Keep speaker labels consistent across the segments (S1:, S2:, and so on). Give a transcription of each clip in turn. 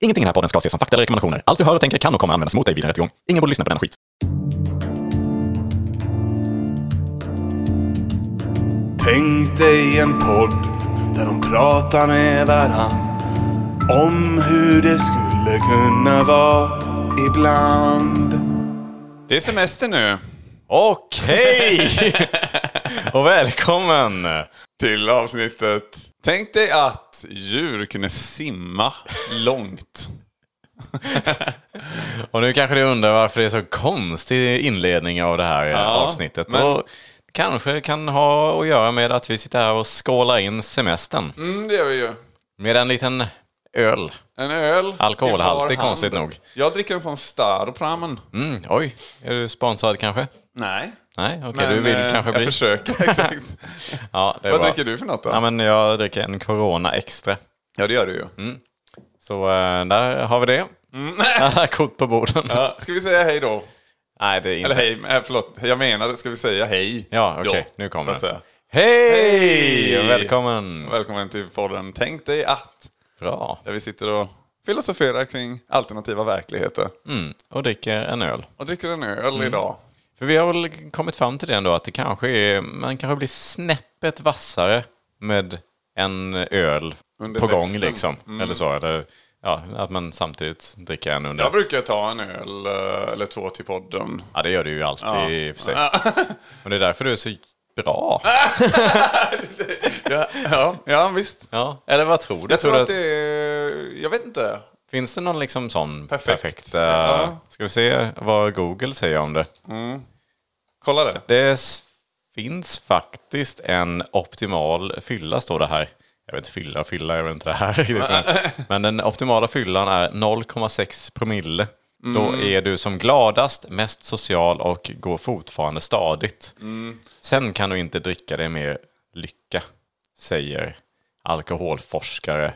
S1: Ingenting i den här podden ska ses som fakta eller rekommendationer. Allt du hör och tänker kan och kommer användas mot dig vid en rättegång. Ingen borde lyssna på den skit.
S2: Tänk dig en podd där de pratar med varann om hur det skulle kunna vara ibland.
S3: Det är semester nu.
S1: Och hej! och välkommen!
S3: Till avsnittet. Tänk dig att djur kunde simma långt.
S1: Och nu kanske du undrar varför det är så konstig inledning av det här eh, avsnittet.
S3: men-
S1: Och kanske kan ha att göra med att vi sitter här och skålar in semestern
S3: Mm, det gör vi ju.
S1: med en liten öl.
S3: En öl.
S1: Alkoholhalt,
S3: i var
S1: det är konstigt
S3: hand.
S1: nog.
S3: Jag dricker en sån Staropramen.
S1: Mm, oj, är du sponsrad kanske?
S3: Nej.
S1: Nej, okej,
S3: Men,
S1: du vill
S3: eh,
S1: kanske
S3: Jag
S1: bli.
S3: försöker, exakt.
S1: Ja, det är
S3: Vad
S1: bra.
S3: dricker du för något då?
S1: Ja, men jag dricker en Corona Extra.
S3: Ja, det gör du ju.
S1: Mm. Så eh, där har vi det. Alla kort på borden.
S3: Mm. Ja, Ska vi säga hej då?
S1: Nej, det är inte...
S3: Eller hej, eh, förlåt. Jag menade, ska vi säga hej?
S1: Ja, okej,
S3: då,
S1: nu
S3: så
S1: kommer
S3: att
S1: den.
S3: säga.
S1: Hej!
S3: Hej!
S1: Välkommen!
S3: Välkommen till podden Tänk dig att.
S1: Bra.
S3: Där vi sitter och filosoferar kring alternativa verkligheter.
S1: Mm. Och dricker en öl.
S3: Och dricker en öl idag.
S1: För vi har väl kommit fram till det ändå att det kanske är, man kanske blir snäppet vassare med en öl
S3: Under Mm.
S1: på gång
S3: västen.
S1: liksom. Eller så. Eller, ja, att man samtidigt dricker en under.
S3: Jag
S1: ett.
S3: brukar ta en öl eh, eller två till podden.
S1: Ja, det gör du ju alltid i och för sig. Men det är därför du är så bra.
S3: Ja, ja visst.
S1: Ja. Eller vad tror du?
S3: Jag tror
S1: du
S3: att det är... Jag vet inte.
S1: Finns det någon liksom sån perfekt?
S3: Perfekt.
S1: eh,
S3: Ja.
S1: Ska vi se vad Google säger om det.
S3: Kolla det.
S1: Det s- finns faktiskt en optimal fylla, står det här. Jag vet fylla, fylla, jag vet inte det här riktigt. Men, men den optimala fyllan är 0,6 promille. Då är du som gladast, mest social och går fortfarande stadigt. Sen kan du inte dricka dig mer lycka, säger alkoholforskare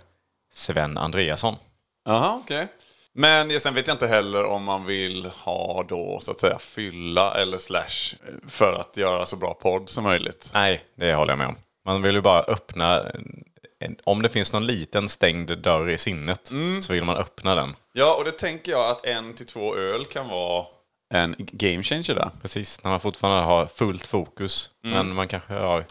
S1: Sven Andreasson.
S3: Jaha, okej. Men jag- sen vet jag inte heller om man vill ha då så att säga fylla eller slash för att göra så bra podd som möjligt.
S1: Nej, det håller jag med om. Man vill ju bara öppna, en- en, om det finns någon liten stängd dörr i sinnet så vill man öppna den.
S3: Ja, och det tänker jag att en till två öl kan vara en game changer där.
S1: Precis, när man fortfarande har fullt fokus. Men man kanske har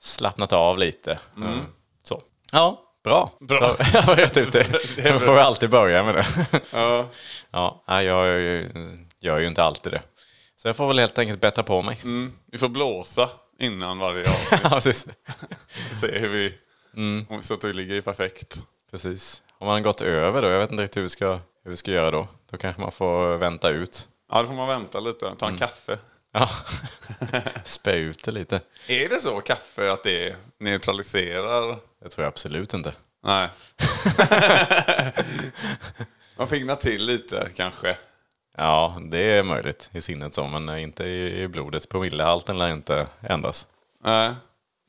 S1: slappnat av lite. Mm. Så. Ja, bra.
S3: Bra.
S1: Jag har rätt ut det. Så får vi alltid börja med det.
S3: Ja.
S1: Ja, nej, jag gör ju- gör ju inte alltid det. Så jag får väl helt enkelt bättra på mig.
S3: Mm. Vi får blåsa innan varje avsnitt.
S1: Ja, precis.
S3: Se hur vi... om- Så att vi ligger i perfekt.
S1: precis. Om man har gått över då, jag vet inte riktigt hur vi ska, hur vi ska göra då. Då kanske man får vänta ut.
S3: Ja, då får man vänta lite. Ta en kaffe.
S1: Ja. Spä ut det lite.
S3: Är det så kaffe att det neutraliserar?
S1: Det tror jag absolut inte.
S3: Nej. Man figgnar till lite kanske.
S1: Ja, det är möjligt i sinnet så, men inte i i blodet. Promillehalten lär inte ändras.
S3: Nej.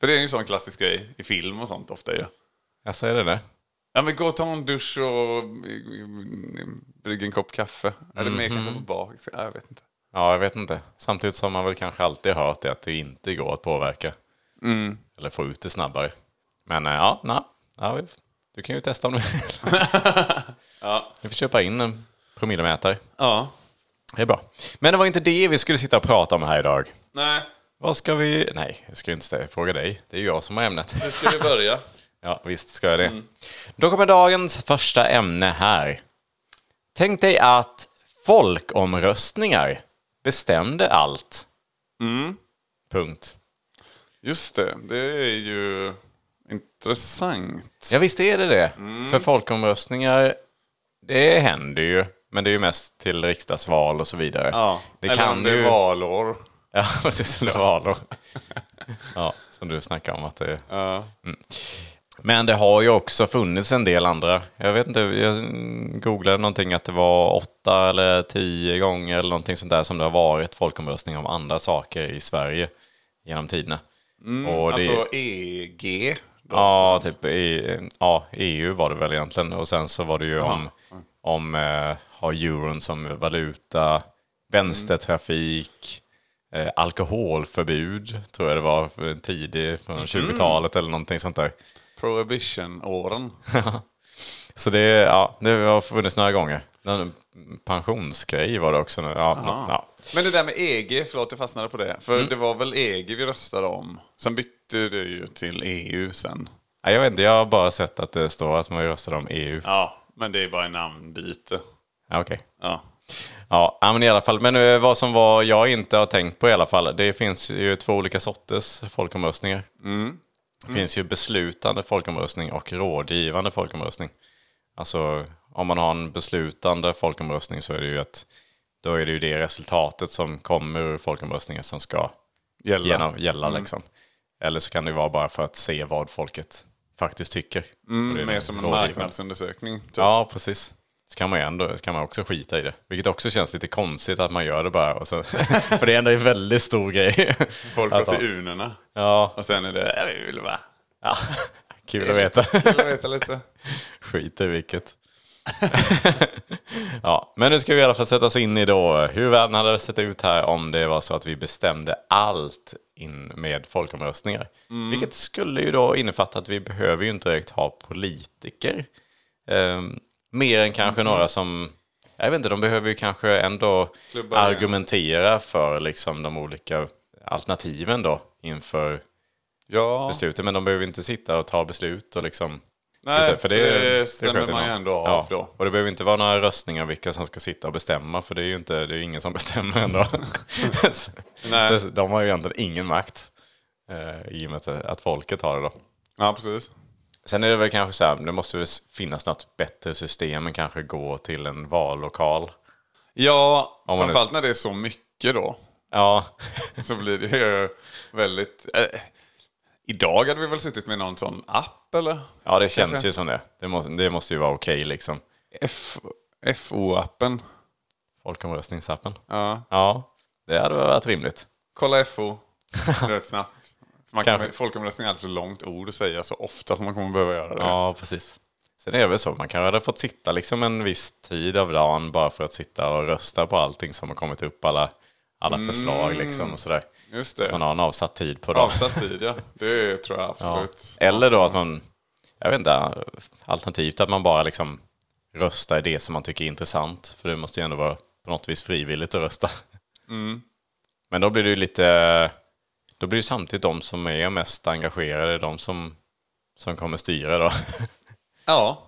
S3: För det är ju en sån klassisk grej i film och sånt ofta ju.
S1: Jag säger det där.
S3: Ja men gå och ta en dusch och mm, brygg en kopp kaffe. Eller mer kanske på bak. Ja, jag vet inte.
S1: Ja, jag vet inte. Samtidigt som man väl kanske alltid hört det, att det inte går att påverka. Eller få ut det snabbare. Men eh, ja, na, ja, vi- du kan ju testa om du vill. Du får köpa in en promillemätare.
S3: Ja.
S1: Det är bra. Men det var inte det vi skulle sitta och prata om här idag.
S3: Nej,
S1: Vad ska vi... Nej, jag ska ju inte ställa- fråga dig. Det är ju jag som har ämnet.
S3: nu ska vi börja.
S1: Ja, visst ska jag det. Då kommer dagens första ämne här. Tänk dig att folkomröstningar bestämde allt. Punkt.
S3: Just det, det är ju intressant.
S1: Ja, visst är det det. För folkomröstningar, det händer ju. Men det är ju mest till riksdagsval och så vidare. det
S3: Eller
S1: kan
S3: om det är
S1: ju...
S3: valår.
S1: Ja, precis. Eller valår. ja, som du snackar om att det Mm.
S3: Ja.
S1: Men det har ju också funnits en del andra. Jag vet inte, jag mm, googlade någonting att det var åtta eller tio gånger eller någonting sånt där som det har varit folkomröstning om andra saker i Sverige genom tiderna. och det,
S3: Alltså EG. Då.
S1: ja, typ i, ja, EU var det väl egentligen. Och sen så var det ju om, om eh, ha euron som valuta, vänstertrafik, eh, alkoholförbud tror jag det var för- tidigt, från 20-talet eller någonting sånt där.
S3: Prohibition-åren.
S1: Så det, ja, det har funnits några gånger. Någon pensionsgrej var det också. nu. Ja, ja.
S3: Men det där med EG, förlåt jag fastnade på det.
S1: Mm.
S3: För det var väl EG vi röstade om. Sen bytte du ju till EU sen.
S1: Ja, Jag vet inte, jag har bara sett att det står att man röstar om EU.
S3: Ja, men det är bara en namnbyte.
S1: Ja, okej.
S3: Ja.
S1: Ja, ja, men i alla fall. Men eh, vad som var jag inte har tänkt på i alla fall. Det finns ju två olika sorters folkomröstningar.
S3: Mm.
S1: Det finns ju beslutande folkomröstning och rådgivande folkomröstning. Alltså om man har en beslutande folkomröstning så är det ju att då är det ju det resultatet som kommer ur folkomröstningen som ska
S3: Gälla.
S1: genom, gälla.
S3: Mm.
S1: Liksom. Eller så kan det vara bara för att se vad folket faktiskt tycker. Och det är
S3: Mm, Mer
S1: den
S3: som en
S1: rådgivande.
S3: marknadsundersökning. Typ.
S1: Ja, precis. Så kan man ju ändå, så kan man också skita i det. Vilket också känns lite konstigt att man gör det bara. Och sen, för det är ändå en väldigt stor grej.
S3: Folk
S1: Att
S3: går
S1: ha-
S3: till urnorna.
S1: Ja, alltså,
S3: Och sen är det, ja, vi vill bara...
S1: ja. kul att veta.
S3: Vill veta lite.
S1: Skit i vilket. ja, men nu ska vi i alla fall sätta oss in i då hur världen hade sett ut här om det var så att vi bestämde allt in med folkomröstningar. Vilket skulle ju då innefatta att vi behöver ju inte direkt ha politiker. Ehm, mer än kanske några som, jag vet inte, de behöver ju kanske ändå
S3: Klubbar igen.
S1: argumentera för liksom de olika alternativen då inför
S3: Ja,
S1: beslutet. Men de behöver inte sitta och ta beslut och liksom
S3: nej,
S1: Utan-
S3: för det, stämmer
S1: sköter
S3: man ju
S1: någon.
S3: ändå av då.
S1: Och det behöver inte vara några röstningar vilka som ska sitta och bestämma för det är ju inte, det är ju ingen som bestämmer ändå. Så-
S3: Nej.
S1: Så de har ju egentligen ingen makt eh, i och med att, att folket har det då.
S3: Ja, precis.
S1: Sen är det väl kanske så här, det måste väl finnas något bättre system än kanske gå till en vallokal.
S3: Ja,
S1: Om man är-
S3: framförallt när det är så mycket då.
S1: Ja,
S3: Så blir det ju väldigt... Eh, idag hade vi väl suttit med någon sån app eller?
S1: ja det känns ju som det. Det måste, det måste ju vara okej liksom.
S3: F- FO-appen.
S1: Folkomröstningsappen.
S3: Ja.
S1: Ja, det hade väl varit rimligt.
S3: Kolla FO. Du vet snabbt. Man
S1: Kanske.
S3: kan, folkomröstning är alltid så långt ord att säga så ofta som man kommer behöva göra det.
S1: Ja, precis. Sen är det väl så, man kanske hade fått sitta liksom en viss tid av dagen bara för att sitta och rösta på allting som har kommit upp, alla, alla förslag liksom och sådär.
S3: Just
S1: Man
S3: det.
S1: har en avsatt tid på dagen.
S3: Avsatt tid ja. Det tror jag absolut.
S1: Eller då att man, jag vet inte, alternativt att man bara liksom röstar i det som man tycker är intressant. För det måste ju ändå vara på något vis frivilligt att rösta. Men då blir det ju lite, då blir det ju samtidigt de som är mest engagerade, de som, som kommer styra då.
S3: Ja.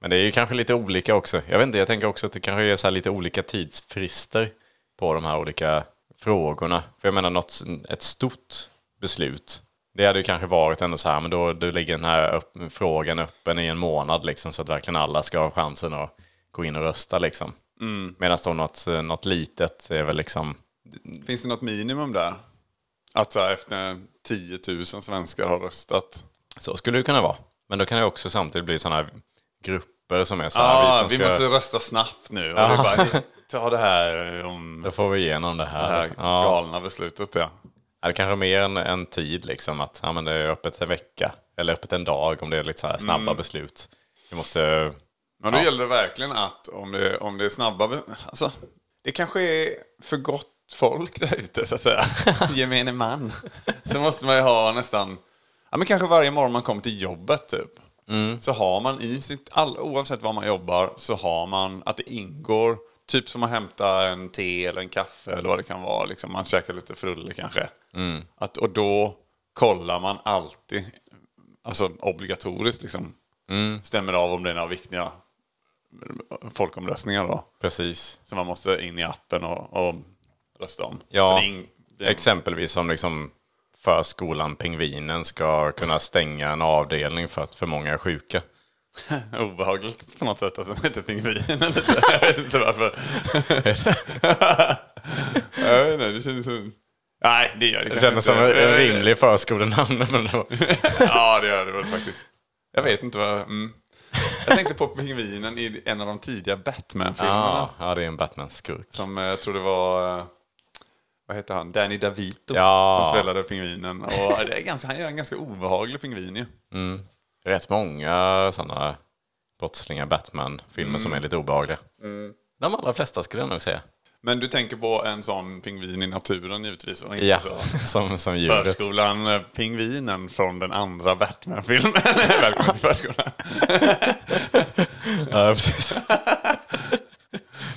S1: Men det är ju kanske lite olika också. Jag vet inte, jag tänker också att det kanske är så här lite olika tidsfrister på de här olika frågorna. För jag menar, något, ett stort beslut, det hade ju kanske varit ändå så här, men då, då ligger den här upp, frågan öppen i en månad liksom, så att verkligen alla ska ha chansen att gå in och rösta liksom.
S3: Mm.
S1: Medan då något, något litet är väl liksom,
S3: Finns det något minimum där? Att så här, efter 10 000 svenskar har röstat.
S1: så skulle det kunna vara. Men då kan det också samtidigt bli sådana här grupper som är så här,
S3: Ah,
S1: vi
S3: vi
S1: som ska,
S3: måste rösta snabbt nu. Och det är bara, ta det här om
S1: då får vi igenom det här.
S3: det här
S1: liksom. Ja.
S3: galna beslutet. Ja.
S1: Ja, Det kanske är mer en, en tid, liksom, att ja, men det är öppet en vecka eller öppet en dag om det är lite så här snabba
S3: Mm.
S1: beslut. Vi måste...
S3: Men då
S1: Ja.
S3: gäller det verkligen att om det, om det är snabba... be- Alltså, det kanske är för gott folk där ute så att säga. Gemene man. Så måste man ju ha nästan... Ja, men kanske varje morgon man kommer till jobbet typ. Så har man i sitt... All, oavsett var man jobbar så har man att det ingår. Typ som att hämta en te eller en kaffe eller vad det kan vara. Liksom, man käkar lite frulle kanske. Att, och då kollar man alltid. Alltså obligatoriskt liksom. Stämmer av om det är några viktiga folkomröstningar då.
S1: Precis.
S3: Som man måste in i appen och, och rösta om.
S1: Ja.
S3: Så det är ing- det är-
S1: Exempelvis som liksom förskolan Pingvinen ska kunna stänga en avdelning för att för många är sjuka.
S3: obehagligt på något sätt att den heter Pingvinen. lite. Jag vet inte varför. jag vet inte, det känns som... Nej, det gör det
S1: Det
S3: kanske
S1: kändes som
S3: inte.
S1: en en rimlig förskolenamn. Men det var...
S3: ja, det gör det väl faktiskt. Jag vet inte vad... Mm. Jag tänkte på Pingvinen i en av de tidiga Batman-filmerna.
S1: ja, ja, det är en Batman-skurk.
S3: Som eh, jag tror det var... eh, Vad heter han? Danny DeVito
S1: Ja.
S3: som spelade pingvinen. Och det är ganska, han gör en ganska obehaglig pingvin ju.
S1: Rätt många sådana
S3: Mm.
S1: brottslingar Batman-filmer som är lite obehagliga. De allra flesta skulle jag nog säga.
S3: Men du tänker på en sån pingvin i naturen givetvis och inte
S1: Ja,
S3: så.
S1: som, som djuret.
S3: Alltså, Förskolan eh, Pingvinen från den andra Batman-filmen. Välkommen till förskolan.
S1: Ja, precis.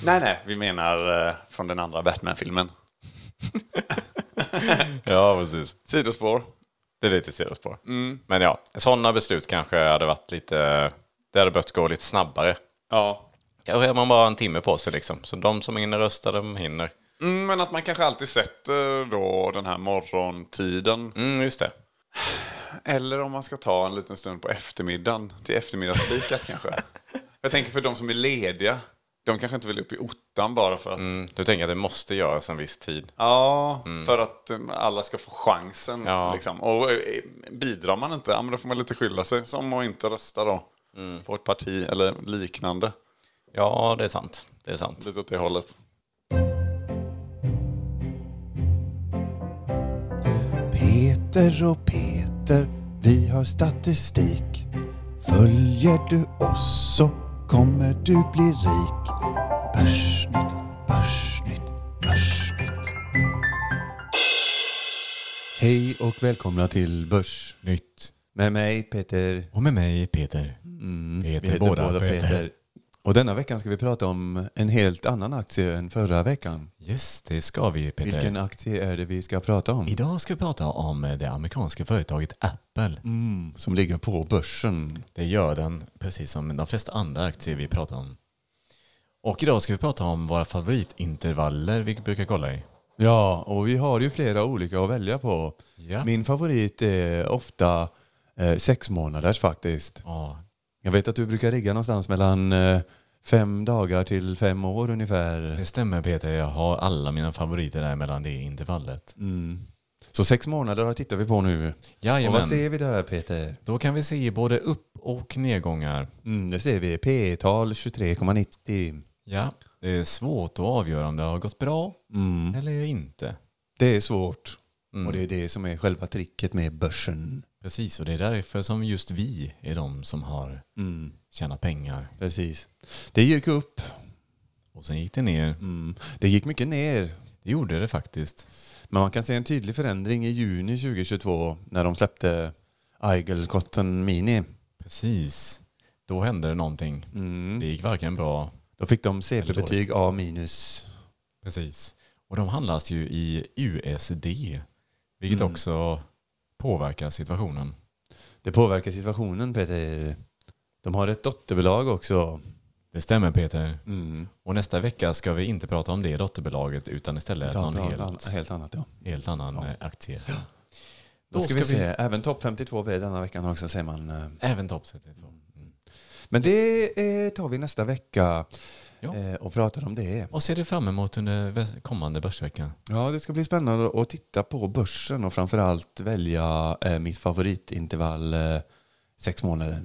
S3: Nej, nej, vi menar eh, från den andra Batman-filmen.
S1: Ja, precis.
S3: Sidospår.
S1: Det är lite sidospår. Men ja, sådana beslut kanske hade varit lite... Det hade behövt gå lite snabbare.
S3: Ja.
S1: Kanske har man bara en timme på sig liksom. Så de som hinner rösta, de hinner.
S3: Mm, men att man kanske alltid sätter eh, då den här morgontiden.
S1: Mm, just det.
S3: Eller om man ska ta en liten stund på eftermiddagen. Till eftermiddagsfikat kanske. Jag tänker för de som är lediga. De kanske inte vill upp i ottan bara för att...
S1: Mm, du tänker att det måste göras en viss tid.
S3: Ja, för att eh, alla ska få chansen.
S1: Ja.
S3: Liksom. Och eh, bidrar man inte, ja, men då får man lite skylla sig. Som att inte rösta då. På ett parti eller liknande.
S1: Ja, det är sant. Det är sant.
S3: Lite åt det hållet.
S4: Peter och Peter, vi har statistik. Följer du oss så kommer du bli rik. Börsnytt, börsnytt, börsnytt. Hej och välkomna till Börsnytt. Med mig Peter.
S5: Och med mig Peter.
S4: Mm. Vi heter
S5: båda Peter.
S4: Och denna veckan ska vi prata om en helt annan aktie än förra veckan.
S5: Yes, det ska vi Peter.
S4: Vilken aktie är det vi ska prata om?
S5: Idag ska vi prata om eh, det amerikanska företaget Apple.
S4: Som ligger på börsen.
S5: Det gör den, precis som de flesta andra aktier vi pratar om. Och idag ska vi prata om våra favoritintervaller vi brukar kolla i.
S4: Ja, och vi har ju flera olika att välja på.
S5: Ja.
S4: Min favorit är ofta eh, sex månaders faktiskt.
S5: Ja,
S4: Jag vet att du brukar rigga någonstans mellan eh, fem dagar till fem år ungefär.
S5: det stämmer Peter. Jag har alla mina favoriter där mellan det intervallet.
S4: Mm. Så sex månader tittar vi på nu. Och vad
S5: Jajamän.
S4: ser vi där Peter?
S5: Då kan vi se både upp och nedgångar.
S4: Mm, det ser vi. P-tal 23,90.
S5: Ja, det är svårt att avgöra om det har gått bra
S4: Mm.
S5: eller inte.
S4: Det är svårt.
S5: Mm.
S4: Och det är det som är själva tricket med börsen.
S5: Precis, och det är därför som just vi är de som har
S4: Mm.
S5: tjänat pengar.
S4: Precis. Det gick upp.
S5: Och sen gick det ner.
S4: Mm. Det gick mycket ner.
S5: Det gjorde det faktiskt.
S4: Men man kan se en tydlig förändring i juni 2022 när de släppte Eigel Cotton Mini.
S5: Precis. Då hände det någonting. Det gick varken bra.
S4: Mm. Då fick de
S5: Eller dåligt.
S4: CP-betyg A minus.
S5: Precis. Och de handlas ju i USD. Vilket
S4: Mm.
S5: också påverkar situationen.
S4: Det påverkar situationen Peter. De har ett dotterbolag också.
S5: Det stämmer Peter.
S4: Mm.
S5: Och nästa vecka ska vi inte prata om det dotterbolaget utan istället
S4: Ta
S5: någon
S4: bra-
S5: helt,
S4: helt annat ja.
S5: helt annan eh, aktie.
S4: Då ska, vi se. Även topp 52 vi är denna veckan också säger man. eh.
S5: Även topp 32. Mm.
S4: Men det eh, tar vi nästa vecka
S5: Ja.
S4: eh, och pratar om det.
S5: Vad ser du fram emot under väs- kommande börsvecka?
S4: Ja, det ska bli spännande att titta på börsen och framförallt välja eh, mitt favoritintervall eh, sex månader.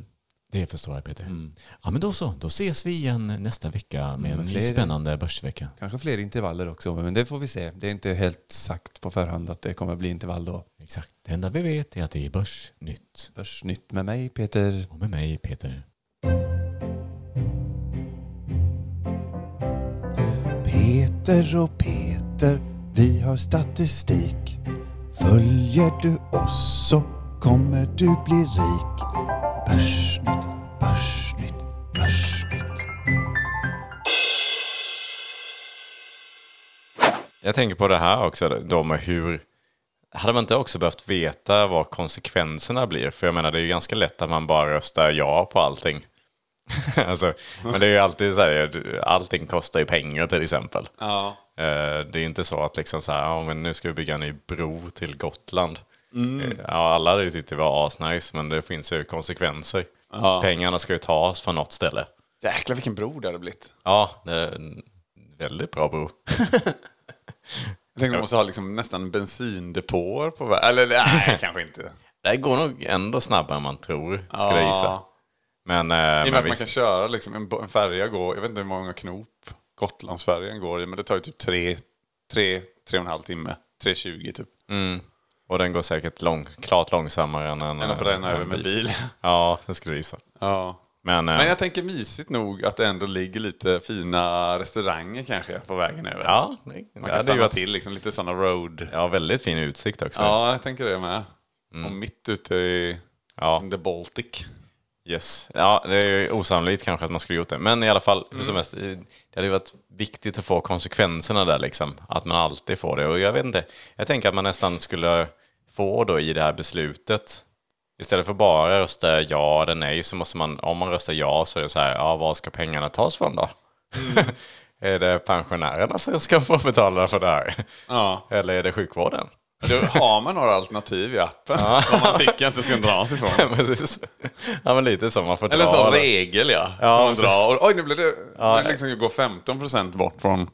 S5: Det förstår jag Peter. Ja men då så, då ses vi igen nästa vecka med
S4: Mm,
S5: en ny
S4: fler-
S5: spännande börsvecka.
S4: Kanske fler intervaller också, men det får vi se. Det är inte helt sagt på förhand att det kommer bli intervall då.
S5: Exakt, det enda vi vet är att det är börsnytt.
S4: Börsnytt med mig, Peter.
S5: Och med mig Peter.
S4: Peter och Peter, vi har statistik. Följer du oss så kommer du bli rik. Börsnytt, börsnytt, börsnytt.
S1: Jag tänker på det här också, då med hur... Hade man inte också behövt veta vad konsekvenserna blir? För jag menar, det är ju ganska lätt att man bara röstar ja på allting. alltså, men det är ju alltid så här, du- allting kostar ju pengar till exempel.
S3: Ja.
S1: Eh, Det är inte så att liksom så här, ja, men nu ska vi bygga en ny bro till Gotland.
S3: Mm.
S1: Eh, Ja, alla hade ju tyckt det var asnice, men det finns ju konsekvenser.
S3: Ja.
S1: Pengarna ska ju tas från något ställe.
S3: Jäklar vilken bro det hade blivit.
S1: Ja, det är en väldigt bra bro.
S3: Jag tänkte de måste ha liksom nästan bensindepåer på vä- Eller nej, kanske inte.
S1: Det här går nog ändå snabbare än man tror, skulle jag gissa.
S3: Ja.
S1: Men,
S3: I
S1: eh,
S3: och med
S1: men
S3: att man
S1: visst,
S3: kan köra liksom en, bo- en färja går, jag vet inte hur många knop Gotlandsfärjan går i, men det tar ju typ tre, tre, tre och en halv timme. 3.20 typ.
S1: och den går säkert lång, klart långsammare än en...
S3: Än att
S1: eh,
S3: bränna
S1: en
S3: över med bil.
S1: Ja, det skulle jag gissa.
S3: Ja.
S1: Men, eh,
S3: Men jag tänker mysigt nog att det ändå ligger lite fina restauranger kanske på vägen över.
S1: ja, det,
S3: Man
S1: det
S3: kan
S1: hade ju
S3: stanna
S1: varit
S3: till liksom, lite sådana road.
S1: Ja, väldigt fin utsikt också.
S3: Ja, jag tänker det med. Och mitt ute i
S1: Ja,
S3: in the Baltic.
S1: yes. ja, det är ju osannolikt kanske att man skulle gjort det. Men i alla fall, hur som helst, eh, det hade ju varit viktigt att få konsekvenserna där liksom. Att man alltid får det. Och jag vet inte, jag tänker att man nästan skulle få då i det här beslutet. Istället för bara rösta ja eller nej så måste man, om man röstar ja så är det så här, ja var ska pengarna tas från då? är det pensionärerna som ska få betala för det här?
S3: Ja.
S1: Eller är det sjukvården?
S3: Då har man några alternativ i appen. Vad man tycker inte ska dras ifrån.
S1: Precis. Ja men lite så, man får
S3: Eller en
S1: dra
S3: sån
S1: det.
S3: regel ja. ja man
S1: precis.
S3: drar. Och, oj, nu blev det... Ja, liksom går 15% bort från...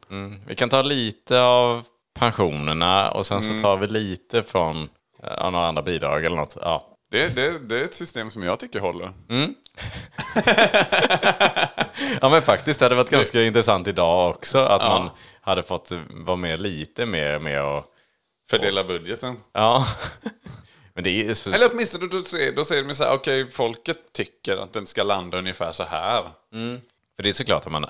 S1: Vi kan ta lite av pensionerna och sen så tar vi lite från ja, några andra bidrag eller något. Ja.
S3: Det, det, det är ett system som jag tycker håller.
S1: ja men faktiskt, det hade varit ganska intressant idag också att man hade fått vara med lite mer med och...
S3: Fördela budgeten.
S1: Ja. men det är ju... så-
S3: Eller åtminstone då säger, då säger de så här, okej, folket tycker att den ska landa ungefär så här.
S1: För det är såklart att man...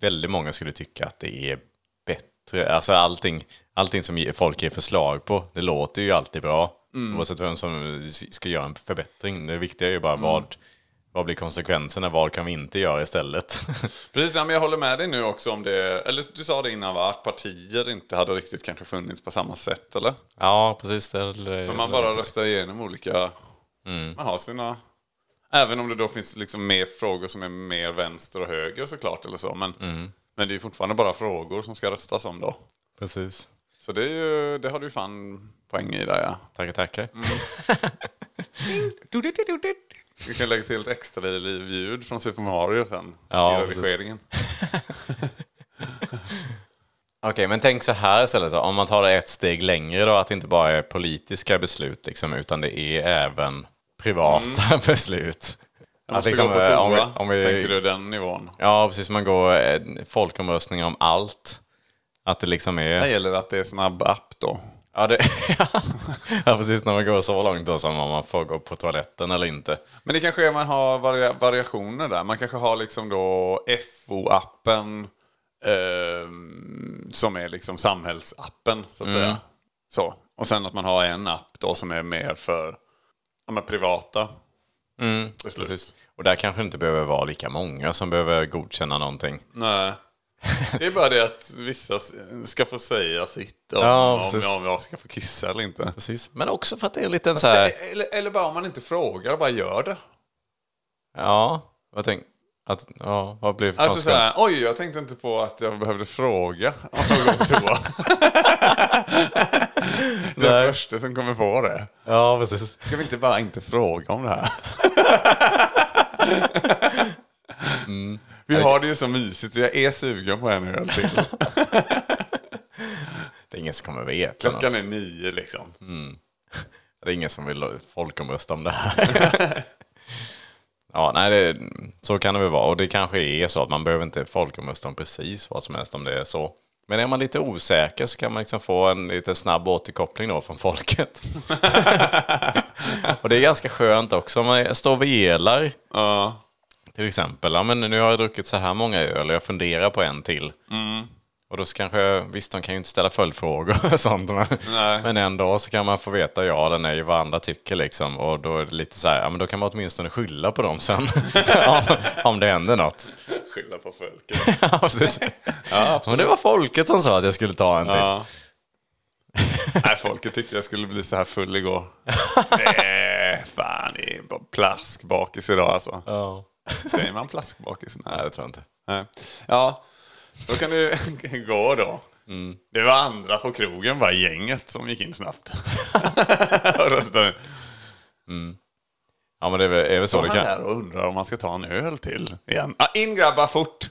S1: Väldigt många skulle tycka att det är bättre. Alltså allting, allting som ge- folk ger förslag på, det låter ju alltid bra.
S3: Mm.
S1: Oavsett vem som ska göra en förbättring. Det viktiga är ju bara vad,
S3: Mm.
S1: vad blir konsekvenserna, vad kan vi inte göra istället?
S3: Precis, ja, men jag håller med dig nu också om det, eller du sa det innan va, att partier inte hade riktigt kanske funnits på samma sätt eller?
S1: ja, precis. Det, det,
S3: För man bara röstar igenom olika,
S1: Mm.
S3: man har sina, även om det då finns liksom mer frågor som är mer vänster och höger såklart eller så, men,
S1: Mm.
S3: men det är ju fortfarande bara frågor som ska röstas om då.
S1: Precis.
S3: Så det, är ju, det har du ju fan poäng i där ja.
S1: Tackar, tackar.
S3: Mm. Vi kan lägga till ett extra ljud från Super Mario sen
S1: Ja,
S3: i
S1: precis.
S3: redigeringen.
S1: Okej, men tänk så här istället. då. Om man tar det ett steg längre då, att det inte bara är politiska beslut liksom, utan det är även privata beslut.
S3: Mm. Jag måste
S1: liksom,
S3: gå på
S1: eh,
S3: toa,
S1: om vi- om vi-
S3: tänker du den nivån?
S1: Ja, precis. Man går eh, folkomröstningar om allt. Att det liksom
S3: Här
S1: är...
S3: gäller det att det är snabb app då.
S1: Ja, det, ja, precis. När man går så långt då som om man får gå på toaletten eller inte.
S3: Men det kanske är man har varia- variationer där. Man kanske har liksom då FO-appen ehm, som är liksom samhällsappen så att säga. Så. Och sen att man har en app då som är mer för ja, men privata beslut.
S1: Och där kanske det inte behöver vara lika många som behöver godkänna någonting.
S3: Nej. Det är bara det att vissa s- ska få säga sitt om,
S1: Ja,
S3: om,
S1: precis.
S3: om jag ska få kissa eller inte.
S1: Precis. Men också för att det är en liten så här...
S3: Eller, eller bara om man inte frågar, bara gör det.
S1: Ja, vad tänk... Att, ja, vad blir
S3: Alltså
S1: konsekvensen?
S3: såhär, oj jag tänkte inte på att jag behövde fråga om jag går på toa. det är den första som kommer på det.
S1: Ja, precis.
S3: Ska vi inte bara inte fråga om det här?
S1: Mm.
S3: Vi har det ju så mysigt och jag är sugen på en öl till.
S1: Det är ingen som kommer veta
S3: Klockan
S1: något.
S3: är nio liksom.
S1: Det är ingen som vill folkomrösta om det här. ja, nej, det, så kan det väl vara. Och det kanske är så att man behöver inte folkomrösta om precis vad som helst om det är så. Men är man lite osäker så kan man liksom få en lite snabb återkoppling då från folket. och det är ganska skönt också om man står och velar
S3: Ja.
S1: till exempel. Ja, men nu har jag druckit så här många öl och jag funderar på en till. Och då så kanske, visst de kan ju inte ställa följdfrågor och sånt. Men, men en dag så kan man få veta ja eller nej vad andra tycker liksom. Och då är det lite så här, ja men då kan man åtminstone skylla på dem sen. om, om det händer något.
S3: Skylla på folket.
S1: ja, precis. men det var folket som sa att jag skulle ta en till.
S3: Ja. Nej, folket tyckte jag skulle bli så här full igår. Det är fan, det är bara plaskbakis idag alltså.
S1: Ja.
S3: Säger man plaskbakis?
S1: Nej,
S3: Nej.
S1: det tror jag inte.
S3: Nej. Ja, så kan det ju gå då.
S1: Mm.
S3: Det var andra på krogen, bara gänget, som gick in snabbt. och röstade.
S1: Ja, men det är väl, är väl så
S3: Så
S1: det
S3: han
S1: kan...
S3: där och undrar om man ska ta en öl till igen. Ah, in grabbar, fort!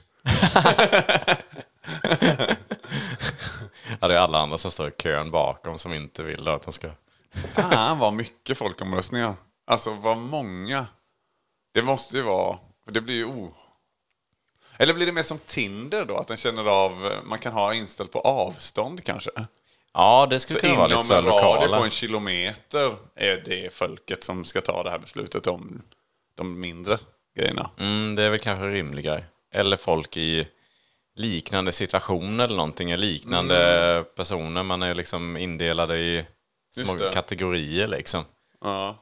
S1: Ja, det är alla andra som står i kön bakom som inte vill att han ska...
S3: Fan vad mycket folkomröstningar. Alltså vad många. Det måste ju vara, för det blir ju o... Eller blir det mer som Tinder då? Att den känner av, man kan ha inställt på avstånd kanske?
S1: Ja, det skulle
S3: Så
S1: kunna vara
S3: inom
S1: lite
S3: en
S1: så här lokala.
S3: radie på en kilometer är det folket som ska ta det här beslutet om de mindre. grejerna.
S1: Mm, det är väl kanske rimligare. Eller folk i liknande situationer eller någonting. eller Liknande personer. Man är liksom indelade i
S3: Mm. Just
S1: små
S3: det.
S1: kategorier liksom.
S3: Ja.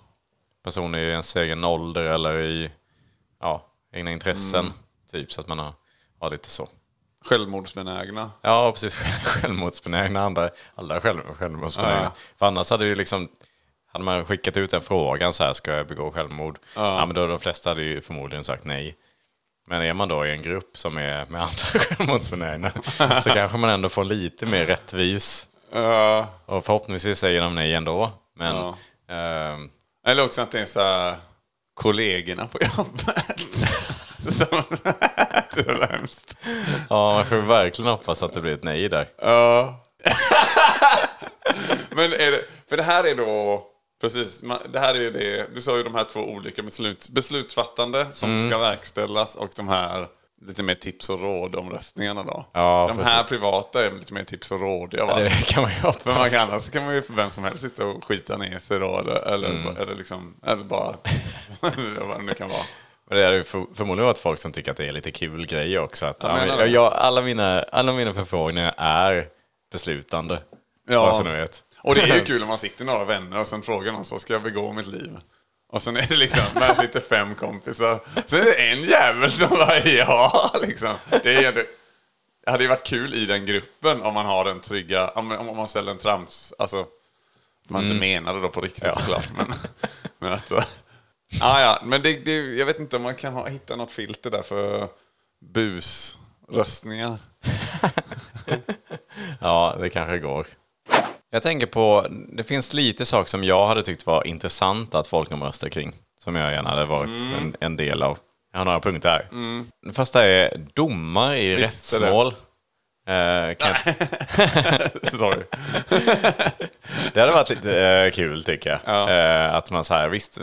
S1: Personer i ens egen ålder eller i ja, egna intressen.
S3: Mm.
S1: Typ så att man har, har lite så.
S3: Självmordsbenägna.
S1: Ja, precis. Självmordsbenägna andra. Alla själv, självmordsbenägna.
S3: Ja.
S1: För annars hade ju liksom... Hade man skickat ut den frågan så här, ska jag begå självmord? Ja, men då hade de flesta hade ju förmodligen sagt nej. Men är man då i en grupp som är med andra självmordsbenägna så kanske man ändå får lite mer rättvis.
S3: Ja.
S1: Och förhoppningsvis säger de nej ändå. Men
S3: Ja.
S1: ehm,
S3: Eller också att det är så här, kollegorna på jobbet. Som- det var hemskt.
S1: ja, man får verkligen hoppas att det blir ett nej där.
S3: Ja. Men är det, för det här är då, precis, man- det här är ju det, du sa ju de här två olika beslut, beslutsfattande som
S1: Mm.
S3: ska verkställas och de här lite mer tips och råd-omröstningarna då.
S1: Ja,
S3: de här
S1: precis.
S3: privata är lite mer tips och råd. Jag bara,
S1: Det kan man ju
S3: För man
S1: hoppas.
S3: kan, annars kan man ju för vem som helst sitta och skita ner sig då, eller, eller,
S1: Mm.
S3: eller, liksom, eller bara vad det nu kan vara.
S1: Och det är ju för, förmodligen varit folk som tycker att det är lite kul grejer också. Att, ja,
S3: menar
S1: men,
S3: det.
S1: jag, alla, mina, alla mina förfrågningar är beslutande.
S3: Ja.
S1: Bara så ni vet.
S3: Och det är ju kul om man sitter några vänner och sen frågar någon så ska jag begå mitt liv? Och sen är det liksom, man sitter fem kompisar. Sen är det en jävel som bara ja, liksom. Det, är, ju ändå- det hade ju varit kul i den gruppen om man har den trygga, om, om man ställer en trams, alltså. Man inte menar det då på riktigt såklart. Men, men att, ja, ja, men det, det, jag vet inte om man kan ha, hitta något filter där för busröstningar.
S1: Ja, det kanske går. Jag tänker på, det finns lite saker som jag hade tyckt var intressanta att folkomrösta kring. Som jag gärna hade varit
S3: Mm.
S1: en, en del av. Jag har några punkter här. Den första är domar i
S3: Visst är det.
S1: rättsmål. Eh, kan jag... Sorry. det hade varit lite eh, kul tycker jag. Eh, att man så här, visst,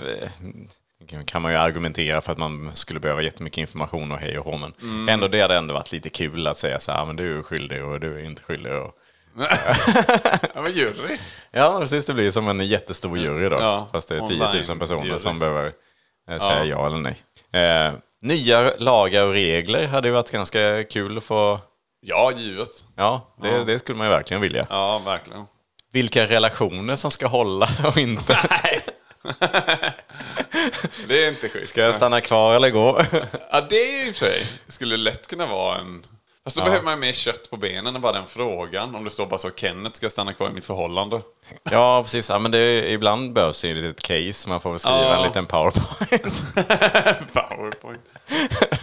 S1: eh, kan man ju argumentera för att man skulle behöva jättemycket information och hej och hå. Men ändå, det hade ändå varit lite kul att säga så här, men du är skyldig och du är inte skyldig. Och...
S3: Ja, men jury.
S1: Ja, men precis. Det blir som en jättestor jury då.
S3: Ja,
S1: fast det är
S3: online
S1: 10 000 personer
S3: jury.
S1: som behöver eh, säga ja. eller nej. Eh, nya lagar och regler hade ju varit ganska kul att få.
S3: Ja, givet.
S1: Ja, det, det skulle man ju verkligen vilja.
S3: Ja, verkligen.
S1: Vilka relationer som ska hålla och inte.
S3: Det är inte schysst.
S1: Ska jag stanna kvar eller gå?
S3: Ja, det är ju i och för sig. skulle lätt kunna vara en... Fast då behöver man ju mer kött på benen än bara den frågan. Om det står bara så Kenneth ska stanna kvar i mitt förhållande.
S1: ja, precis. Ja, men det, ibland behövs ju ett litet case. Man får väl skriva
S3: Ja.
S1: en liten powerpoint.
S3: Powerpoint.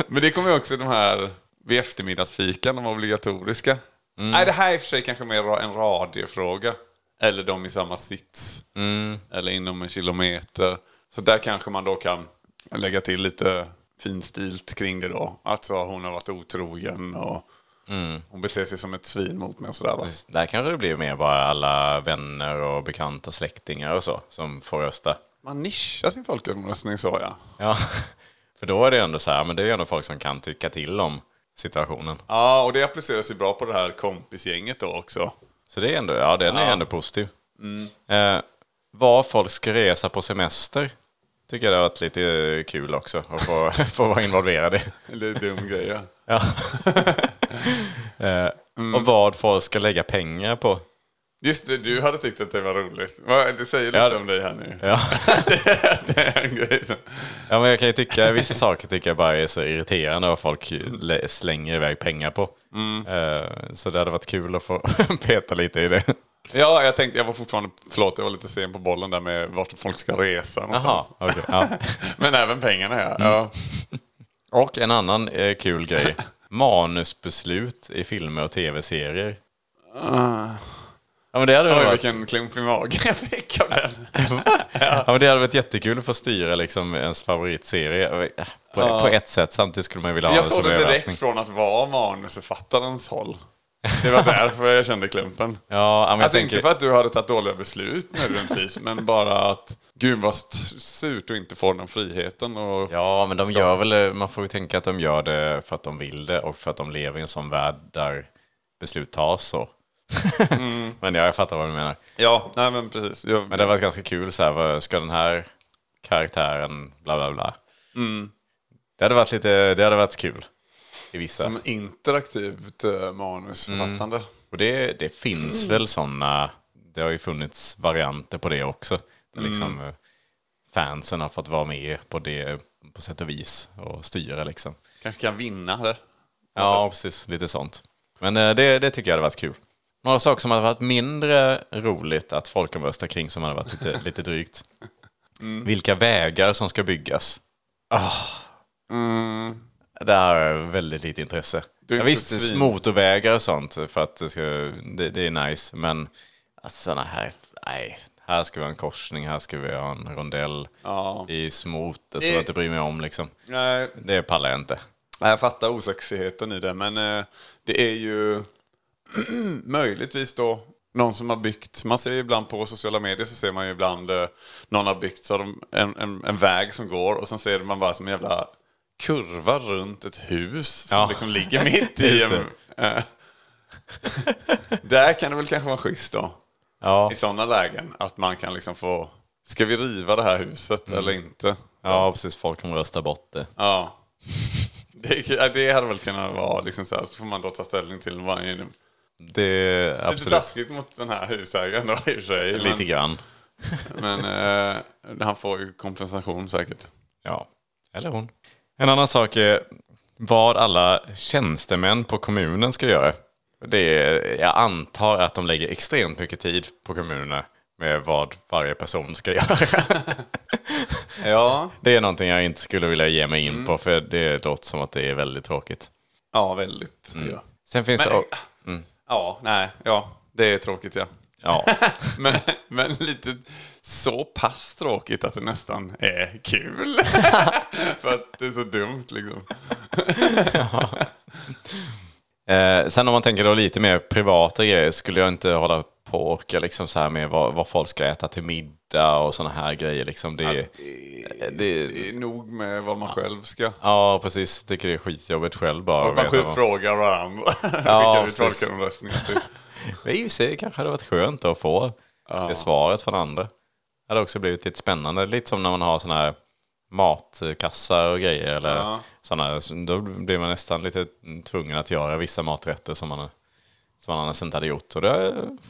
S3: Men det kommer ju också de här vid eftermiddagsfikan, de obligatoriska. Nej, det här är i och för sig kanske mer ra- en radiofråga. Eller de i samma sits. Eller inom en kilometer. Så där kanske man då kan lägga till lite finstilt kring det då. Alltså hon har varit otrogen och hon beter sig som ett svin mot mig och sådär. Va?
S1: Där kanske det blir mer bara alla vänner och bekanta släktingar och så som får rösta.
S3: Man nischar sin folkomröstning så ja.
S1: Ja, för då är det ändå så här, men det är ju ändå folk som kan tycka till om situationen.
S3: Ja, och det appliceras ju bra på det här kompisgänget då också.
S1: Så det är ändå, ja den är ändå positiv. Eh, var folk ska resa på semester tycker jag det har varit lite eh, kul också att få, få vara involverad i.
S3: Det är dum grej ja.
S1: Ja. eh, Och vad folk ska lägga pengar på.
S3: Just det, du hade tyckt att det var roligt. Vad- Det säger lite
S1: Ja.
S3: om dig här nu.
S1: Ja.
S3: det är en grej som...
S1: ja, men jag kan ju tycka, vissa saker tycker jag bara är så irriterande vad folk lä- slänger iväg pengar på.
S3: Mm.
S1: Eh, så det hade varit kul att få peta lite i det.
S3: Ja, jag tänkte, jag var fortfarande, förlåt jag var lite sen på bollen där med vart folk ska resa
S1: Jaha, Mm.
S3: någonstans.
S1: okej. Ja.
S3: Men även pengarna ja. ja.
S1: Och en annan eh, kul grej. Manusbeslut i filmer och tv-serier. Ja, men det hade väl
S3: Oj,
S1: varit,
S3: vilken klump i magen jag fick av den.
S1: ja, men det hade varit jättekul att få styra liksom, ens favoritserie. eh, På, på ett sätt, samtidigt skulle man ju vilja ha
S3: Jag
S1: det
S3: såg
S1: som
S3: det
S1: överraskning.
S3: direkt från att vara manusförfattarens håll. Det var därför jag kände klumpen.
S1: Ja, men jag
S3: Alltså
S1: tänker,
S3: inte för att du hade tagit dåliga beslut nödvändigtvis, men bara att gud vad st- surt och inte får den friheten. Och...
S1: Ja, men de gör väl, man får ju tänka att de gör det för att de vill det och för att de lever i en sån värld där beslut tas. Så. men ja, jag fattar vad du menar.
S3: Ja, nej men precis. Jag,
S1: Men det har varit ganska kul så här, vad ska den här karaktären, bla bla bla. Det hade varit, lite, det hade varit kul i vissa.
S3: Som Mm. interaktivt eh, manusförfattande.
S1: Och det, det finns väl sådana, det har ju funnits varianter på det också. Där liksom eh, fansen har fått vara med på det på sätt och vis och styra liksom.
S3: Kanske kan vinna det. Alltså,
S1: Ja, precis. Lite sånt. Men eh, det, det tycker jag hade varit kul. Några saker som hade varit mindre roligt att folkomrösta kring som hade varit lite, lite drygt.
S3: Mm.
S1: Vilka vägar som ska byggas. Ah. Där har jag väldigt lite intresse.
S3: Mm. är
S1: Jag
S3: inte
S1: visst,
S3: ett svin.
S1: motorvägar och sånt för att det, ska, det, det är nice. Men alltså, sådana här, nej. Här ska vi ha en korsning, här ska vi ha en rondell.
S3: Ja.
S1: I små orter som jag inte bryr mig om liksom.
S3: Nej,
S1: Det pallar jag inte.
S3: Nej, Jag fattar osexigheten i det, men eh, det är ju möjligtvis då någon som har byggt. Man ser ju ibland på sociala medier så ser man ju ibland eh, någon har byggt så har de en, en, en väg som går och sen ser man bara som en jävla kurva runt ett hus som
S1: Ja.
S3: liksom ligger mitt i
S1: Just
S3: en... eh, Där kan det väl kanske vara schysst då.
S1: Ja.
S3: I sådana lägen. Att man kan liksom få... Ska vi riva det här huset
S1: Mm.
S3: eller inte?
S1: Ja, precis. Folk kommer rösta bort det.
S3: Ja. Det, ja, det hade väl kunnat vara liksom så här, så får man då ta ställning till varje...
S1: Det
S3: Lite
S1: absolut.
S3: taskigt mot den här husägaren då i och för sig.
S1: Lite grann.
S3: Men, men eh, han får ju kompensation säkert.
S1: Ja. Eller hon. En annan sak är vad alla tjänstemän på kommunen ska göra. Det är, jag antar att de lägger extremt mycket tid på kommunerna med vad varje person ska göra.
S3: Ja,
S1: Det är någonting jag inte skulle vilja ge mig in
S3: Mm.
S1: på för det låter som att det är väldigt tråkigt.
S3: ja väldigt.
S1: Mm.
S3: Ja.
S1: Sen finns
S3: Men,
S1: det...
S3: ja, nej, ja. Det är tråkigt ja.
S1: Ja,
S3: Men, men lite så pass tråkigt att det nästan är kul. För att det är så dumt liksom.
S1: Eh, sen om man tänker då lite mer privata grejer skulle jag inte hålla på och orka liksom så här med vad, vad folk ska äta till middag och sådana här grejer. Liksom det, ja,
S3: Det,
S1: det-
S3: det är nog med vad man själv ska...
S1: precis. Tycker det är skitjobbigt själv bara.
S3: Och man
S1: att
S3: själv
S1: veta vad-
S3: frågar varandra.
S1: Ja,
S3: Skickar ut
S1: precis.
S3: folkomröstningar till.
S1: Men i och för sig kanske hade varit skönt att få det svaret från andra. Det hade också blivit lite spännande. Lite som när man har sådana här matkassar och grejer. Eller
S3: Ja.
S1: såna, då blir man nästan lite tvungen att göra vissa maträtter som man, som man annars inte hade gjort. Och då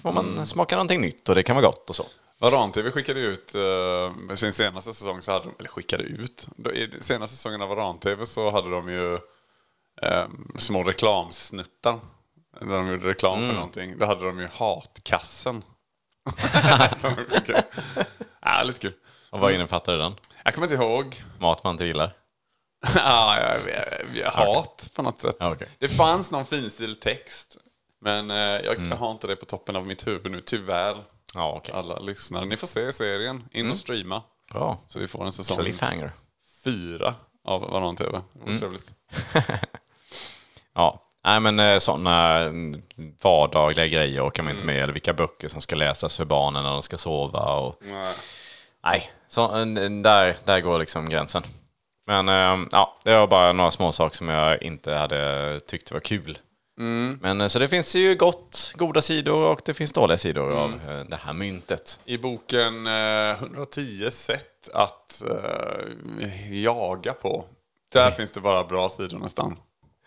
S1: får man smaka någonting nytt och det kan vara gott och så.
S3: Varan-TV skickade ut, eh, sin senaste säsong så hade de, eller skickade ut, Då i den senaste säsongen av Varan-TV så hade de ju eh, små reklamsnuttar. När de gjorde reklam för någonting. Då hade de ju hatkassen. Som de skickade. ja, lite kul.
S1: Och vad innefattade den?
S3: Jag kommer inte ihåg.
S1: Mat man inte gillar?
S3: ja, jag, jag, jag, hat på något sätt.
S1: Ja, okej.
S3: Det fanns någon finstild text. Men eh, jag har inte det på toppen av mitt huvud nu, tyvärr.
S1: Ja, okej.
S3: Alla lyssnare, ni får se serien. In och streama.
S1: Bra.
S3: Så Mm. vi Mm. får en säsong
S1: Cliffhanger.
S3: fyra av Varan TV. Det var trevligt.
S1: Ja. Nej, men sådana vardagliga grejer orkar man
S3: Mm.
S1: inte med. Eller vilka böcker som ska läsas för barnen när de ska sova. Och... Nej, så, en- en- där, där går liksom gränsen. Men eh, ja, det var bara några små saker som jag inte hade tyckt var kul.
S3: Mm.
S1: Men eh, så det finns ju gott, goda sidor och det finns dåliga sidor av
S3: Mm.
S1: eh, det här myntet.
S3: I boken eh, 110 sätt att eh, jaga på. Där finns det bara bra sidor nästan.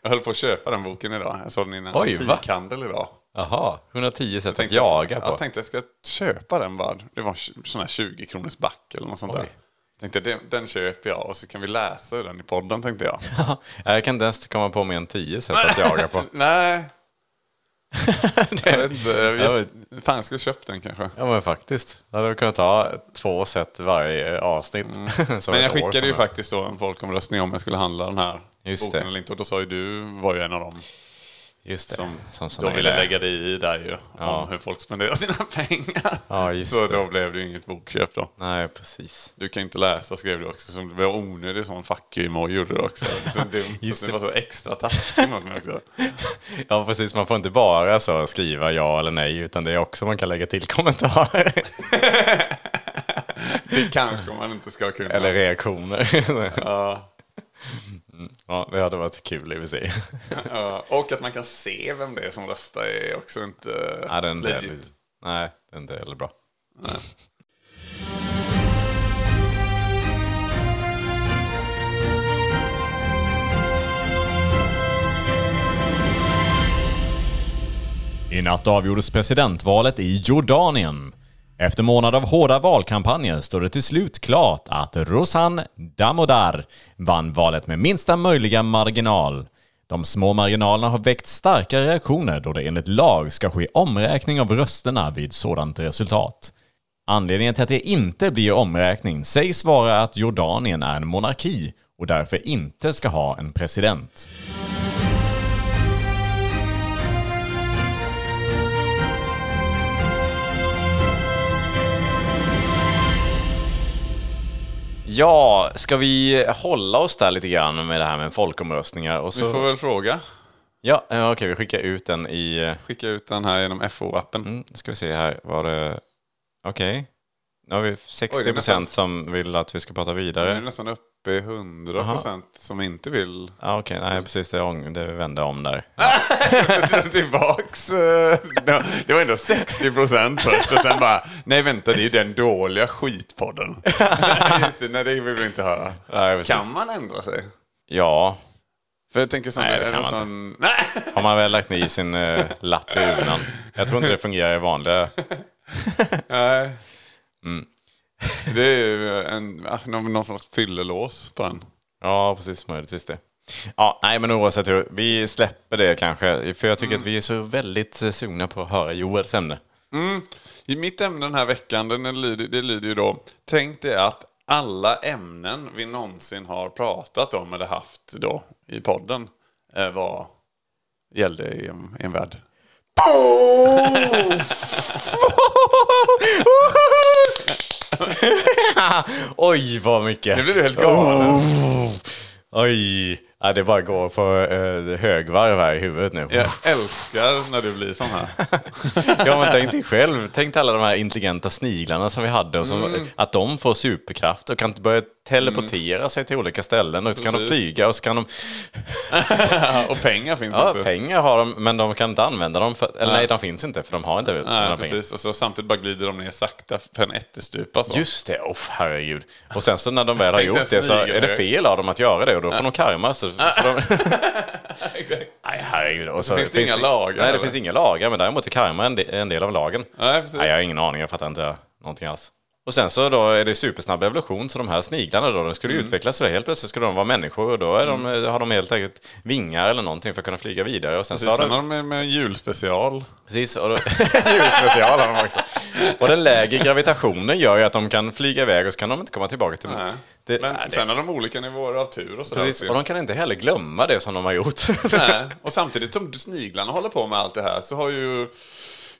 S3: Jag höll på att köpa den boken idag. Jag såg den innan.
S1: Oj, va?
S3: Antikhandel idag.
S1: Jaha, 110 sätt att
S3: tänkte
S1: jaga
S3: jag,
S1: på.
S3: Jag tänkte jag ska köpa den bara. Det var en sån här 20 kronors back eller något sånt
S1: Oj.
S3: där. Jag tänkte den, den köper jag och så kan vi läsa ur den i podden tänkte jag.
S1: Jag kan inte ens komma på mer än 10 sätt att jaga på.
S3: Nej. jag vet inte. Jag
S1: Jag
S3: vet. Fan, jag skulle köpt den kanske.
S1: Ja men faktiskt. Då hade vi kunnat ha två set varje avsnitt. som
S3: Mm. Men
S1: ett
S3: jag
S1: år
S3: skickade ju
S1: framöver.
S3: faktiskt då en folkomröstning om jag skulle handla den här
S1: Just
S3: boken
S1: det.
S3: eller inte. Och då sa ju du, var ju en av dem
S1: Just det.
S3: som,
S1: som
S3: då
S1: såna
S3: ville
S1: idéer.
S3: lägga dig i där ju. Om hur folk spenderar sina pengar.
S1: Ja, just
S3: så
S1: det.
S3: då blev det ju inget bokköp då.
S1: Nej precis.
S3: Du kan inte läsa skrev du också. Som det var onödig sån fuck you-emoji gjorde du också. Det är så dumt.
S1: Just
S3: Just det.
S1: det.
S3: var så extra taskig mot mig också.
S1: Ja precis, man får inte bara så skriva ja eller nej utan det är också man kan lägga till kommentarer.
S3: Det kanske man inte ska kunna.
S1: eller reaktioner.
S3: Ja.
S1: ja, det hade varit kul i och för sig.
S3: Ja. och att man kan se vem det är som röstar är också inte
S1: Nej, det är inte
S3: legit.
S1: Nej, det är inte heller bra.
S5: I natt avgjordes presidentvalet i Jordanien. Efter månader av hårda valkampanjer står det till slut klart att Rosan Damodar vann valet med minsta möjliga marginal. De små marginalerna har väckt starka reaktioner då det enligt lag ska ske omräkning av rösterna vid sådant resultat. Anledningen till att det inte blir omräkning sägs vara att Jordanien är en monarki och därför inte ska ha en president.
S1: Ja, ska vi hålla oss där lite grann med det här med folkomröstningar? Och
S3: Vi
S1: så...
S3: får väl fråga.
S1: Ja, eh, okej, vi skickar ut den i... eh,
S3: Skicka ut den här genom FO-appen.
S1: Mm, ska vi se här, var det... Okej. Nu har vi
S3: Oj, det är
S1: 60
S3: nästan- Mm.
S1: procent som vill att vi ska prata
S3: Nu är det
S1: vidare.
S3: nästan uppe i 100 procent som inte vill
S1: Ja, okej, nej precis, det, ång- det vände om där.
S3: tillbaks. eh, Det det var ändå 60 procent först och sen bara, nej vänta det är ju den dåliga skitpodden. Just det, nej det vill vi inte höra.
S1: Nej, precis.
S3: Kan man ändra sig?
S1: Ja,
S3: För jag tänker sån,
S1: Nej, det
S3: är
S1: kan
S3: det
S1: man
S3: sån, nej.
S1: har man väl lagt ner sin eh, lapp i urnan. Jag tror inte det fungerar i vanliga...
S3: nej. Det är ju en, ah, någon, någon slags fyllelås på den.
S1: Ja, precis, möjligtvis det. Ja, nej men oavsett hur, vi släpper det kanske. För jag tycker att vi är så väldigt eh, sugna på att höra Joels ämne.
S3: I mitt ämne den här veckan, den är, lyder- det lyder ju då Tänk dig att alla ämnen vi någonsin har pratat om eller haft då i podden eh, var, gällde i en, i en värld.
S1: Oj, vad mycket! Oh.
S3: Nu blir du helt galen.
S1: Oj! Ja, det bara går på eh, högvarv här i huvudet nu.
S3: Jag älskar när du blir sån här.
S1: Ja, men tänk dig själv, tänk dig alla de här intelligenta sniglarna som vi hade och som,
S3: Mm.
S1: att de får superkraft och kan börja teleportera sig till olika ställen och så kan de
S3: Mm. Precis.
S1: flyga och så kan de,
S3: Och pengar finns
S1: ja
S3: inte.
S1: pengar har de men de kan inte använda dem för, eller nej de finns inte för de har inte några
S3: Nej,
S1: pengar.
S3: precis. Och så samtidigt bara glider de ner sakta för en ättestupa. Så.
S1: Just det, oh, herregud. Och sen så när de väl har
S3: alltså. Tänkte
S1: gjort det så
S3: snigel
S1: är det
S3: nu.
S1: fel av dem att göra det och då får de karma. Så får de... Nej, herregud. Och så
S3: Finns det inga lagar,
S1: Nej, det
S3: eller?
S1: finns inga lagar, men däremot är karma en del, en del av lagen.
S3: Nej, precis.
S1: Nej, jag har ingen aning, jag fattar inte någonting alls. Och sen så då är det supersnabb evolution, så de här sniglarna då, de skulle
S3: Mm.
S1: ju utvecklas så helt plötsligt skulle de vara människor och då är de, har de helt enkelt vingar eller någonting för att kunna flyga vidare. Och sen så
S3: Precis,
S1: har
S3: sen
S1: de,
S3: har de med, med en julspecial.
S1: Precis, och då, julspecial har de också. Och den lägre gravitationen gör ju att de kan flyga iväg och så kan de inte komma tillbaka till...
S3: Nej.
S1: Det,
S3: Men
S1: nej, det,
S3: sen har de olika nivåer av tur och så.
S1: precis,
S3: här.
S1: och de kan inte heller glömma det som de har gjort.
S3: Nej, och samtidigt som du- sniglarna håller på med allt det här så har ju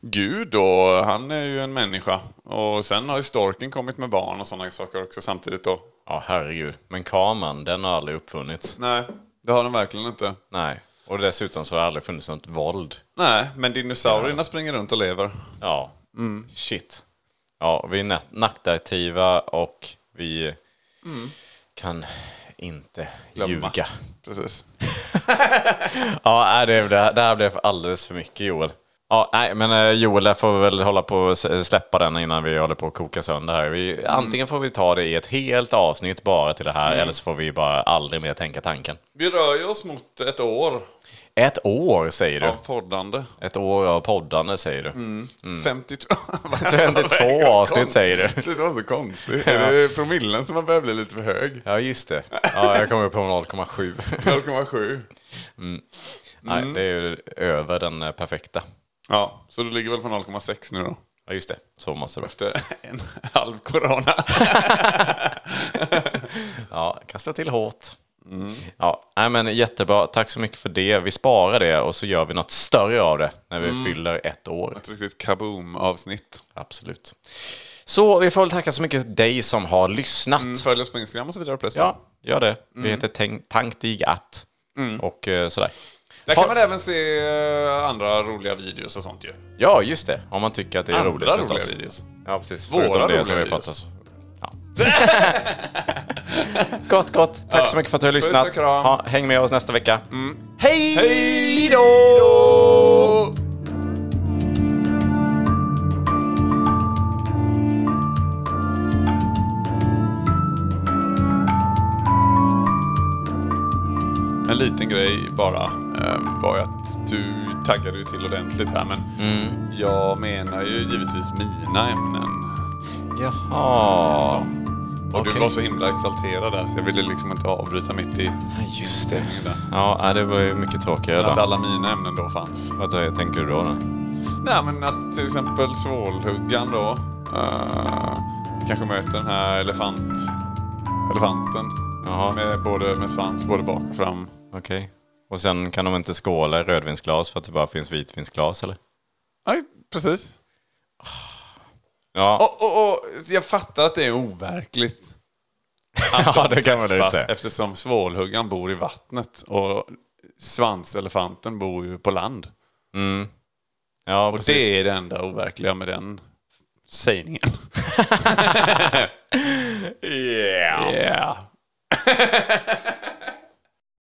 S3: Gud då, han är ju en människa. Och sen har ju storken kommit med barn och sådana saker också samtidigt då.
S1: Ja, herregud. Men kameran, den har aldrig uppfunnits.
S3: Nej, det har de verkligen inte.
S1: Nej. Och dessutom så har det aldrig funnits något våld.
S3: Nej, men dinosaurierna springer runt och lever.
S1: Ja.
S3: Mm.
S1: Shit. Ja, vi är nat- nattaktiva och vi kan inte
S3: Mm. Glömma.
S1: ljuga.
S3: Precis.
S1: Ja, nej, det, det, här- det här blev alldeles för mycket Joel. Ja, nej, men eh, Joel, där får vi väl hålla på och s- släppa den innan vi håller på att koka sönder här. Vi, Antingen får vi ta det i ett helt avsnitt bara till det här, eller så får vi bara aldrig mer tänka tanken.
S3: Vi rör ju oss mot ett år
S1: Ett år säger du.
S3: av poddande.
S1: Ett år av poddande säger du. Mm.
S3: 52... Vad är det?
S1: 52 avsnitt säger du.
S3: Sluta vara så konstig. Är det promillen som har börjat bli lite för hög?
S1: Ja, just det. Ja, jag kommer upp på 0,7.
S3: 0,7.
S1: Nej, det är ju över den eh, perfekta.
S3: Ja, så du ligger väl på 0,6 nu då?
S1: Ja, just det. Så måste det vara.
S3: Efter en halv corona.
S1: Ja, kasta till hårt.
S3: Mm.
S1: Ja, nej, men jättebra. Tack så mycket för det. Vi sparar det och så gör vi något större av det när
S3: Mm.
S1: vi fyller ett år.
S3: Ett riktigt kaboom-avsnitt.
S1: Absolut. Så vi får väl tacka så mycket dig som har lyssnat.
S3: Följ oss på Instagram och så vidare. Plus.
S1: Ja, gör det.
S3: Mm.
S1: Vi heter Tänk, Tank Dig Att och eh, sådär.
S3: Där
S1: Ha-
S3: kan man även se eh, andra roliga videos och sånt ju.
S1: Ja, just det. Om man tycker att det är
S3: Andra
S1: roligt
S3: roliga
S1: förstås.
S3: videos.
S1: Ja, precis.
S3: Våra
S1: Förutom det
S3: roliga
S1: som vi
S3: videos.
S1: pratat ja. Gott, gott. Tack så mycket för att du har
S3: Puss och
S1: lyssnat.
S3: kram. Mm.
S1: Ha, häng med oss nästa vecka.
S3: Hej då! En liten grej bara eh, var ju att du taggade ju till ordentligt här men
S1: Mm.
S3: jag menar ju givetvis mina ämnen.
S1: Jaha.
S3: Så. Och du
S1: Okej.
S3: var så himla exalterad där så jag ville liksom inte avbryta mitt i
S1: Ja, Just det.
S3: stämningen där.
S1: Ja, nej, det var ju mycket tråkigare
S3: Att
S1: då.
S3: alla mina ämnen då fanns.
S1: Vad tänker du då? då?
S3: Nej men att till exempel svålhuggan då eh, kanske möter den här elefant, elefanten.
S1: Jaha.
S3: Med, både, med svans både bak och fram.
S1: Okej. Och sen kan de inte skåla i rödvinsglas för att det bara finns vitvinsglas eller?
S3: Nej, precis.
S1: Ja,
S3: Och, och, och, jag fattar att det är overkligt.
S1: ja det kan man
S3: Fast
S1: lugnt säga.
S3: eftersom svålhuggan bor i vattnet och svanselefanten bor ju på land.
S1: Ja,
S3: Och
S1: precis.
S3: det är det enda overkliga med den sägningen.
S1: Yeah.
S3: Yeah.